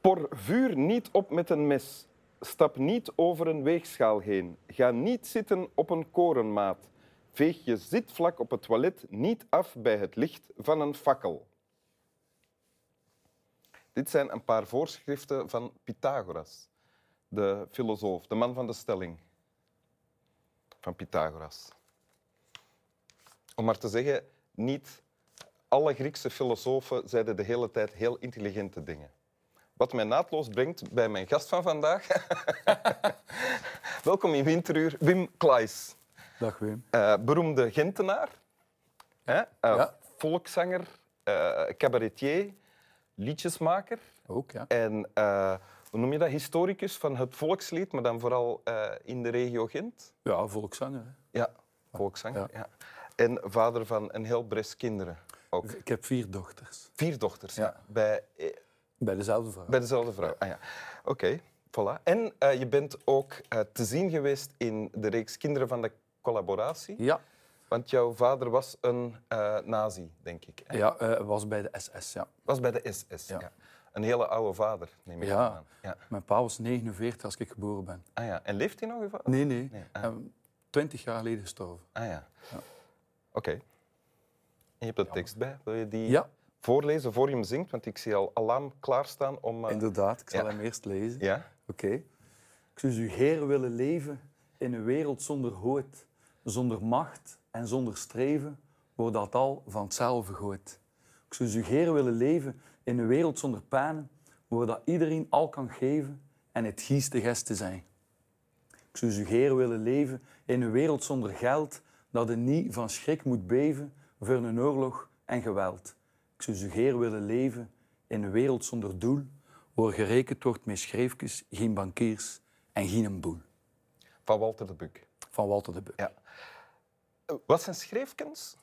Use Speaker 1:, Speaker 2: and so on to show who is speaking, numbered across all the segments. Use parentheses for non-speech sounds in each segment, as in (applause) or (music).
Speaker 1: Por vuur niet op met een mes. Stap niet over een weegschaal heen. Ga niet zitten op een korenmaat. Veeg je zitvlak op het toilet niet af bij het licht van een fakkel. Dit zijn een paar voorschriften van Pythagoras, de filosoof, de man van de stelling van Pythagoras. Om maar te zeggen, niet alle Griekse filosofen zeiden de hele tijd heel intelligente dingen. Wat mij naadloos brengt bij mijn gast van vandaag. (laughs) Welkom in Winteruur, Wim Klaes.
Speaker 2: Dag Wim.
Speaker 1: Eh, beroemde Gentenaar, hè? Eh,
Speaker 2: Ja.
Speaker 1: volkszanger, eh, cabaretier, liedjesmaker
Speaker 2: Ook, ja.
Speaker 1: en eh, hoe noem je dat? Historicus van het volkslied, maar dan vooral eh, in de regio Gent.
Speaker 2: Ja, volkszanger. hè.
Speaker 1: Ja, volkszanger. Ja.
Speaker 2: Ja.
Speaker 1: En vader van een heel bres kinderen. Ook.
Speaker 2: Ik heb vier dochters.
Speaker 1: Vier dochters ja.
Speaker 2: Ja.
Speaker 1: bij, eh,
Speaker 2: Bij dezelfde vrouw.
Speaker 1: bij dezelfde vrouw. Ah, ja. Oké, voilà. En eh, je bent ook eh, te zien geweest in de reeks Kinderen van de Collaboratie.
Speaker 2: Ja,
Speaker 1: Want jouw vader was een eh, nazi, denk ik. Hij
Speaker 2: ja eh, was bij de SS, ja.
Speaker 1: was bij de SS. Ja.
Speaker 2: Ja.
Speaker 1: Een hele oude vader, neem ik
Speaker 2: Ja.
Speaker 1: aan. Ja.
Speaker 2: Mijn pa was 49 als ik geboren ben.
Speaker 1: Ah ja. En leeft hij nog? uw vader?
Speaker 2: Nee, nee.
Speaker 1: Nee, ah.
Speaker 2: Hij is 20 jaar geleden gestorven.
Speaker 1: Ah ja. Oké. En je hebt de tekst bij. Wil je die
Speaker 2: Ja,
Speaker 1: voorlezen voor je hem zingt? Want ik zie al alarm klaarstaan om... eh,
Speaker 2: inderdaad. Ik zal
Speaker 1: Ja.
Speaker 2: hem eerst lezen.
Speaker 1: Ja?
Speaker 2: Oké. Ik zou u Heer willen leven in een wereld zonder hood, zonder macht en zonder streven, wordt dat al van hetzelfde gooit. Ik zou u Heer willen leven in een wereld zonder pijnen, waar dat iedereen al kan geven en het gieste gest te zijn. Ik zou u Heer willen leven in een wereld zonder geld, dat er niet van schrik moet beven voor een oorlog en geweld. Ik zou u Heer willen leven in een wereld zonder doel, waar gerekend wordt met schreefjes, geen bankiers en geen een boel.
Speaker 1: Van Walter de Buk.
Speaker 2: Van Walter de Buk.
Speaker 1: Ja. Eh, Wat zijn schreefkens?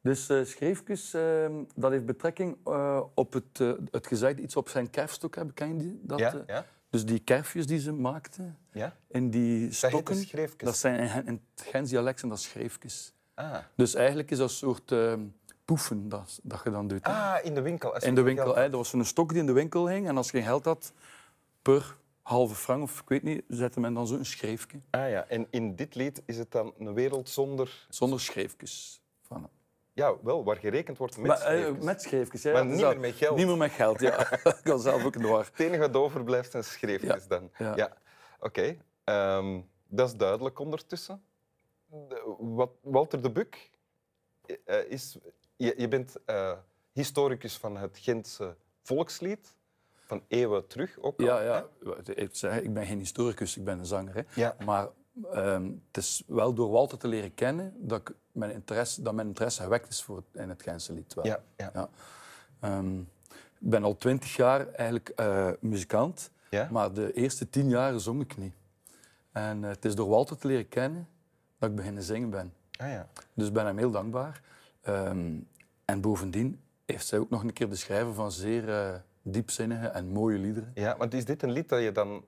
Speaker 2: Dus eh schreefjes, eh, dat heeft betrekking eh, op het, eh, het gezegde, iets op zijn kerfstok hebben, ken je die? Dat,
Speaker 1: ja?
Speaker 2: eh,
Speaker 1: ja?
Speaker 2: Dus die kerfjes die ze maakten,
Speaker 1: Ja?
Speaker 2: en die
Speaker 1: Dat heet
Speaker 2: stokken,
Speaker 1: de schreefkens.
Speaker 2: dat zijn in, Gen- in het Gens dialect zijn dat schreefjes.
Speaker 1: Ah.
Speaker 2: Dus eigenlijk is dat een soort eh, poefen dat, dat je dan doet. hè.
Speaker 1: ah, in de winkel. als je
Speaker 2: in de
Speaker 1: geen
Speaker 2: winkel,
Speaker 1: geld
Speaker 2: hè.
Speaker 1: had.
Speaker 2: dat was zo'n stok die in de winkel hing. En als je geen geld had, per halve frank of ik weet niet, zette men dan zo'n schreefje.
Speaker 1: Ah ja. En in dit lied is het dan een wereld zonder...
Speaker 2: Zonder schreefjes. Van.
Speaker 1: Ja, wel, waar gerekend wordt met
Speaker 2: Maar, eh,
Speaker 1: schreefkens.
Speaker 2: met schreefjes, hè.
Speaker 1: Maar
Speaker 2: dat is
Speaker 1: niet meer
Speaker 2: dat.
Speaker 1: met geld.
Speaker 2: Niet meer met geld, ja.
Speaker 1: (laughs)
Speaker 2: (laughs) ik was zelf ook in de war.
Speaker 1: Het enige wat overblijft zijn schreefjes
Speaker 2: Ja,
Speaker 1: dan. Ja.
Speaker 2: ja.
Speaker 1: Oké. ehm, dat is duidelijk ondertussen. De- wat, Walter de Buk eh, is... Je, je bent eh, historicus van het Gentse volkslied. Van eeuwen terug ook al,
Speaker 2: Ja,
Speaker 1: Oh, hè?
Speaker 2: ja. Ik, zeg, ik ben geen historicus, ik ben een zanger. Hè.
Speaker 1: Ja.
Speaker 2: Maar ehm, het is wel door Walter te leren kennen dat, ik mijn, interesse, dat mijn interesse gewekt is voor het, in het Gentse lied. Wel.
Speaker 1: Ja, ja.
Speaker 2: Ehm, ik ben al twintig jaar eigenlijk eh, muzikant,
Speaker 1: Ja?
Speaker 2: maar de eerste tien jaar zong ik niet. En eh, het is door Walter te leren kennen dat ik beginnen zingen ben.
Speaker 1: Ah, ja.
Speaker 2: Dus ik ben hem heel dankbaar. Ehm, en bovendien heeft zij ook nog een keer de schrijver van zeer eh, diepzinnige en mooie liederen.
Speaker 1: Ja, want is dit een lied dat je dan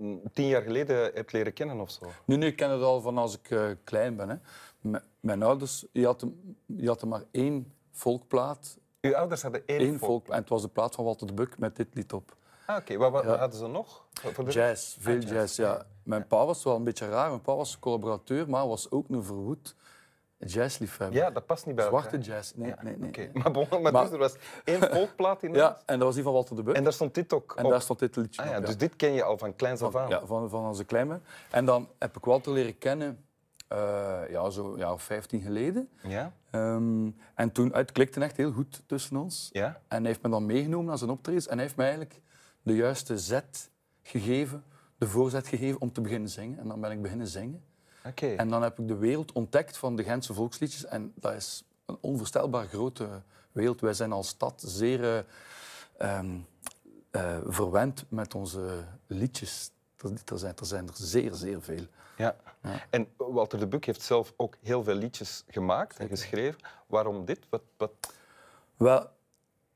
Speaker 1: eh, tien jaar geleden hebt leren kennen of zo?
Speaker 2: Nu, nu, ik ken het al van als ik eh, klein ben. Hè. M- mijn ouders, je had, je had er maar één volkplaat.
Speaker 1: Uw ouders hadden één,
Speaker 2: Één
Speaker 1: volk.
Speaker 2: volk, en het was de plaat van Walter de Buk met dit lied op.
Speaker 1: Ah, oké. Wat, wat hadden ze nog? Voor de-
Speaker 2: Jazz, veel jazz, ja. Mijn pa was wel een beetje raar. Mijn pa was collaborateur, maar was ook een verwoed jazzliefhebber.
Speaker 1: Ja, dat past niet bij elkaar.
Speaker 2: Zwarte jazz. Nee, nee, nee.
Speaker 1: Oké, maar, bon, maar, dus
Speaker 2: Maar-
Speaker 1: er was één volkplaat in
Speaker 2: (laughs) Ja, en dat was die van Walter de Buk.
Speaker 1: En
Speaker 2: En,
Speaker 1: daar stond dit ook op.
Speaker 2: daar stond dit liedje
Speaker 1: Ah, ja,
Speaker 2: op. ja.
Speaker 1: Dus dit ken je al van kleins af aan.
Speaker 2: Ja, van, van onze kleine. En dan heb ik Walter leren kennen, eh, ja, zo'n jaar of 15 geleden.
Speaker 1: Ja?
Speaker 2: Ehm, en toen, het klikte echt heel goed tussen ons.
Speaker 1: Ja?
Speaker 2: En hij heeft me dan meegenomen naar zijn optredens. En hij heeft mij eigenlijk de juiste zet gegeven, de voorzet gegeven om te beginnen zingen. En dan ben ik beginnen zingen.
Speaker 1: Oké.
Speaker 2: En dan heb ik de wereld ontdekt van de Gentse volksliedjes. En dat is een onvoorstelbaar grote wereld. Wij zijn als stad zeer eh, ehm, eh, verwend met onze liedjes. Er- Er zijn er, zijn er zeer, zeer veel.
Speaker 1: Ja. En Walter de Buk heeft zelf ook heel veel liedjes gemaakt en geschreven. Waarom dit? Wat, wat...
Speaker 2: Wel,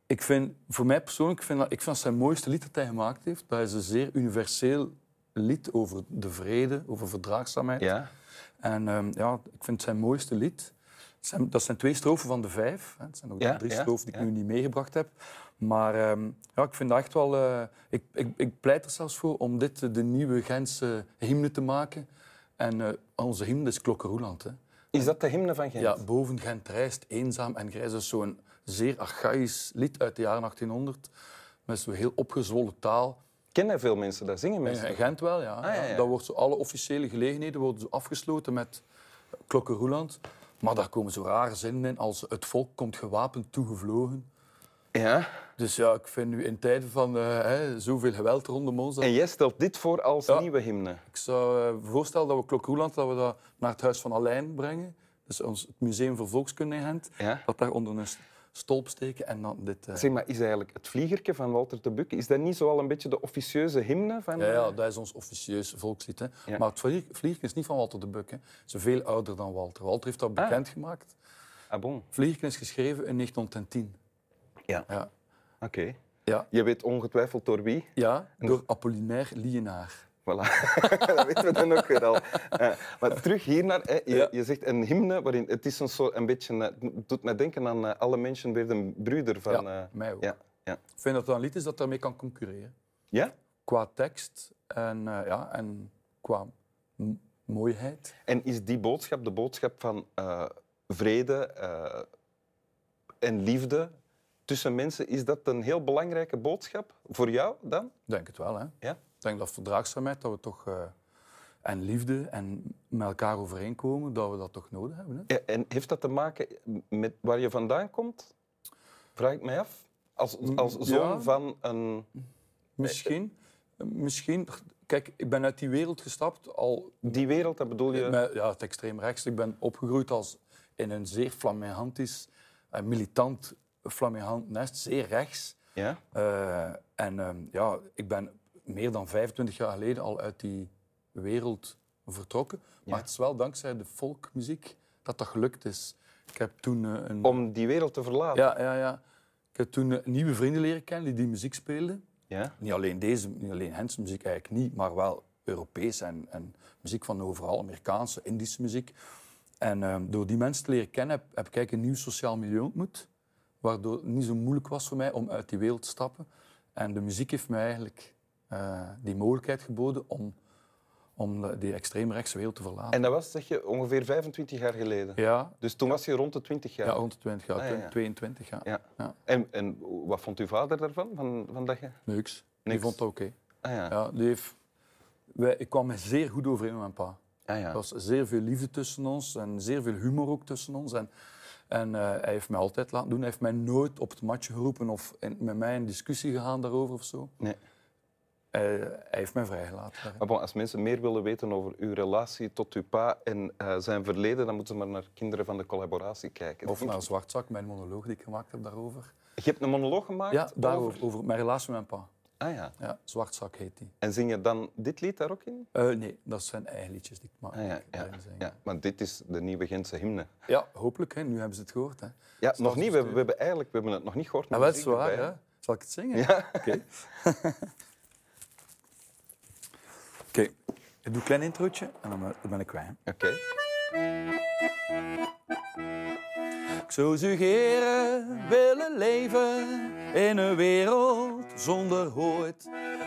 Speaker 2: ik vind, voor mij persoonlijk, ik vind dat, ik vind dat zijn mooiste lied dat hij gemaakt heeft. Dat is een zeer universeel lied over de vrede, over verdraagzaamheid.
Speaker 1: Ja?
Speaker 2: En ehm, ja, ik vind het zijn mooiste lied. Het zijn- Dat zijn twee strofen van de vijf. Hè. Het zijn nog
Speaker 1: Ja,
Speaker 2: drie
Speaker 1: ja,
Speaker 2: strofen die ik
Speaker 1: ja.
Speaker 2: nu niet meegebracht heb. Maar ehm, ja, ik vind dat echt wel... eh, ik, ik, ik pleit er zelfs voor om dit eh, de nieuwe Gentse hymne te maken. En eh, onze hymne is Klokkeroeland. Hè.
Speaker 1: Is dat de hymne van Gent?
Speaker 2: Ja, boven Gent rijst, eenzaam en grijs. Dat is zo'n zeer archaïs lied uit de jaren 1800. Met zo'n heel opgezwollen taal.
Speaker 1: Kennen veel mensen dat? Zingen mensen
Speaker 2: In
Speaker 1: dat? Ah,
Speaker 2: Gent wel, ja.
Speaker 1: ja, ja.
Speaker 2: Dat wordt zo, alle officiële gelegenheden worden zo afgesloten met Klokkenroeland. Maar daar komen zo rare zinnen in als het volk komt gewapend toegevlogen.
Speaker 1: Ja.
Speaker 2: Dus ja, ik vind nu in tijden van eh, hè, zoveel geweld rondom ons... Dat
Speaker 1: En jij stelt dit voor als
Speaker 2: Ja.
Speaker 1: nieuwe hymne.
Speaker 2: ik zou eh, voorstellen dat we Klokkenroeland dat we dat naar het Huis van Alijn brengen. Dus ons, het Museum voor Volkskunde in Gent.
Speaker 1: Ja.
Speaker 2: Dat daar onder een s- stolp steken en dan dit... eh,
Speaker 1: Zeg maar, is eigenlijk het vliegerke van Walter de Buck, is dat niet zoal een beetje de officieuze hymne van...
Speaker 2: Ja, ja, dat is ons officieus volkslied. Hè.
Speaker 1: Ja.
Speaker 2: Maar het vlieg- Vlierken is niet van Walter de Buck. Hè. Ze is veel ouder dan Walter. Walter heeft dat
Speaker 1: Ah.
Speaker 2: bekendgemaakt.
Speaker 1: Ah, bon.
Speaker 2: Vlierken is geschreven in 1910.
Speaker 1: Ja.
Speaker 2: Ja,
Speaker 1: Oké.
Speaker 2: ja.
Speaker 1: Je weet ongetwijfeld door wie.
Speaker 2: ja door Apollinaire Lienaar.
Speaker 1: Voilà. (laughs) dat weten we dan ook weer al. Eh, maar terug hiernaar. hè. je,
Speaker 2: Ja.
Speaker 1: je zegt een hymne waarin... Het is een soort... Een beetje, eh, het doet mij denken aan eh, Alle mensen weer de broeder van...
Speaker 2: Ja,
Speaker 1: eh,
Speaker 2: mij ook.
Speaker 1: ja. Ja?
Speaker 2: Ik vind dat dat een lied is dat daarmee kan concurreren.
Speaker 1: ja?
Speaker 2: Qua tekst en, eh, ja, en qua m- mooiheid.
Speaker 1: En is die boodschap de boodschap van eh, vrede eh, en liefde tussen mensen? Is dat een heel belangrijke boodschap voor jou dan?
Speaker 2: Ik denk het wel, hè.
Speaker 1: Ja?
Speaker 2: Ik denk dat verdraagzaamheid, dat we toch... eh, en liefde en met elkaar overeenkomen, dat we dat toch nodig hebben. Hè?
Speaker 1: Ja, En heeft dat te maken met waar je vandaan komt? Vraag ik mij af. Als, als
Speaker 2: Mm, ja.
Speaker 1: zoon van een...
Speaker 2: Misschien.
Speaker 1: eh,
Speaker 2: Misschien. Kijk, ik ben uit die wereld gestapt al
Speaker 1: Die wereld, dat bedoel je...
Speaker 2: met ja, het extreem rechts. Ik ben opgegroeid als in een zeer flammehantisch, eh, militant flammeant nest, zeer rechts.
Speaker 1: Ja?
Speaker 2: Eh, en ehm, ja, ik ben meer dan 25 jaar geleden al uit die wereld vertrokken. Maar het is wel dankzij de folkmuziek dat dat gelukt is. Ik heb toen eh, een...
Speaker 1: Om die wereld te verlaten.
Speaker 2: Ja, ja, ja. Ik heb toen eh, nieuwe vrienden leren kennen die die muziek speelden.
Speaker 1: Ja?
Speaker 2: Niet alleen deze, niet alleen Hense muziek eigenlijk niet, maar wel Europees en, en muziek van overal, Amerikaanse, Indische muziek. En ehm, door die mensen te leren kennen heb, heb ik eigenlijk een nieuw sociaal milieu ontmoet, waardoor het niet zo moeilijk was voor mij om uit die wereld te stappen. En de muziek heeft mij eigenlijk eh, die mogelijkheid geboden om, om de- die extreemrechtse wereld te verlaten.
Speaker 1: En dat was, zeg je, ongeveer 25 jaar geleden.
Speaker 2: Ja,
Speaker 1: Dus toen was je rond de 20 jaar.
Speaker 2: ja, rond de 20 jaar,
Speaker 1: Ah, ja, ja.
Speaker 2: 22 jaar.
Speaker 1: Ja.
Speaker 2: Ja.
Speaker 1: En, en wat vond uw vader daarvan? Van, van dat je...
Speaker 2: Niks. Die
Speaker 1: Niks.
Speaker 2: vond dat oké.
Speaker 1: Ah ja.
Speaker 2: Ja, die heeft... Wij, ik kwam mij zeer goed overeen met mijn pa.
Speaker 1: Ah, ja.
Speaker 2: Er was zeer veel liefde tussen ons en zeer veel humor ook tussen ons. En, en eh, hij heeft mij altijd laten doen. Hij heeft mij nooit op het matje geroepen of in- met mij in discussie gegaan daarover of zo.
Speaker 1: Nee.
Speaker 2: Eh, hij heeft mij vrijgelaten. daarin.
Speaker 1: Maar Ah, bon, als mensen meer willen weten over uw relatie tot uw pa en eh, zijn verleden, dan moeten ze maar naar Kinderen van de Collaboratie kijken.
Speaker 2: Of nou. naar Zwartzak, mijn monoloog die ik gemaakt heb daarover.
Speaker 1: Je hebt een monoloog gemaakt?
Speaker 2: Ja,
Speaker 1: over-
Speaker 2: daarover. Over mijn relatie met mijn pa.
Speaker 1: Ah ja.
Speaker 2: Ja, Zwartzak heet die.
Speaker 1: En zing je dan dit lied daar ook in?
Speaker 2: Eh, nee, dat zijn eigen liedjes die ik maak.
Speaker 1: Ah ja, ja,
Speaker 2: daarin zing.
Speaker 1: ja. Want dit is de nieuwe Gentse hymne.
Speaker 2: Ja, hopelijk. Hè. Nu hebben ze het gehoord. Hè.
Speaker 1: Ja,
Speaker 2: Staat
Speaker 1: nog niet. We,
Speaker 2: geschreven.
Speaker 1: hebben- we hebben eigenlijk we hebben het nog niet gehoord.
Speaker 2: Ah,
Speaker 1: maar
Speaker 2: wel,
Speaker 1: muziek
Speaker 2: is waar,
Speaker 1: erbij.
Speaker 2: hè? Zal ik het zingen?
Speaker 1: Ja.
Speaker 2: Oké. Oké. Ik doe een klein introotje en dan eh, dan ben ik kwijt.
Speaker 1: Oké.
Speaker 2: Ik zou suggereren willen leven in een wereld zonder hoort,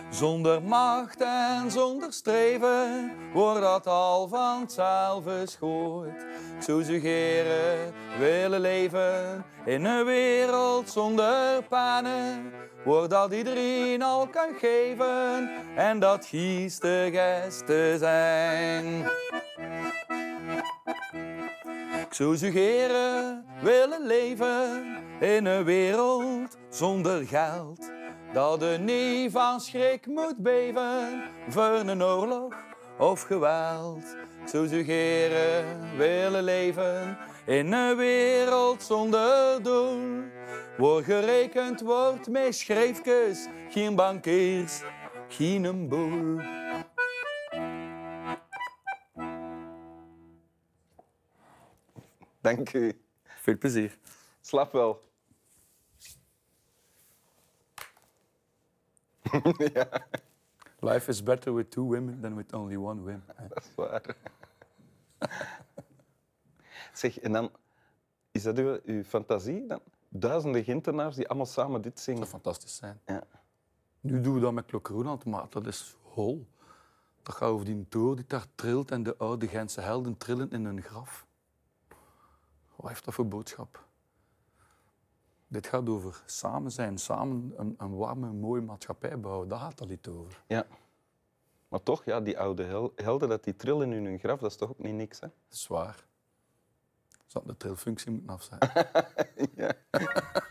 Speaker 2: zonder macht en zonder streven, wordt dat al vanzelf geschoord. Ik zou suggereren willen leven in een wereld zonder pannen, wordt dat iedereen al kan geven en dat giestige te zijn. Ik zou suggereren willen leven in een wereld zonder geld. Dat de nie van schrik moet beven voor een oorlog of geweld. Ik zou suggereren willen leven in een wereld zonder doel. Wordt gerekend, wordt met schreefkes, geen bankiers, geen een boel.
Speaker 1: Dank u.
Speaker 2: Veel plezier.
Speaker 1: Slaap wel.
Speaker 2: Life is better with two women than with only one (laughs) woman.
Speaker 1: Dat is waar. zeg, en dan Is dat uw, uw fantasie dan? Duizenden Gentenaars die allemaal samen dit
Speaker 2: Dat
Speaker 1: zingen.
Speaker 2: zou fantastisch zijn.
Speaker 1: Ja.
Speaker 2: Nu doen we dat met Klokkeroenland, maar dat is hol. Dat gaat over die toer die daar trilt en de oude Gentse helden trillen in hun graf. Wat heeft dat voor boodschap? Dit gaat over samen zijn, samen een, een warme, mooie maatschappij bouwen. Daar gaat dat niet over.
Speaker 1: Ja. Maar toch, ja, die oude hel- helden, dat die trillen in hun graf, dat is toch ook niet niks, hè?
Speaker 2: Dat is waar. Zou de trilfunctie moeten afzetten.
Speaker 1: Ja.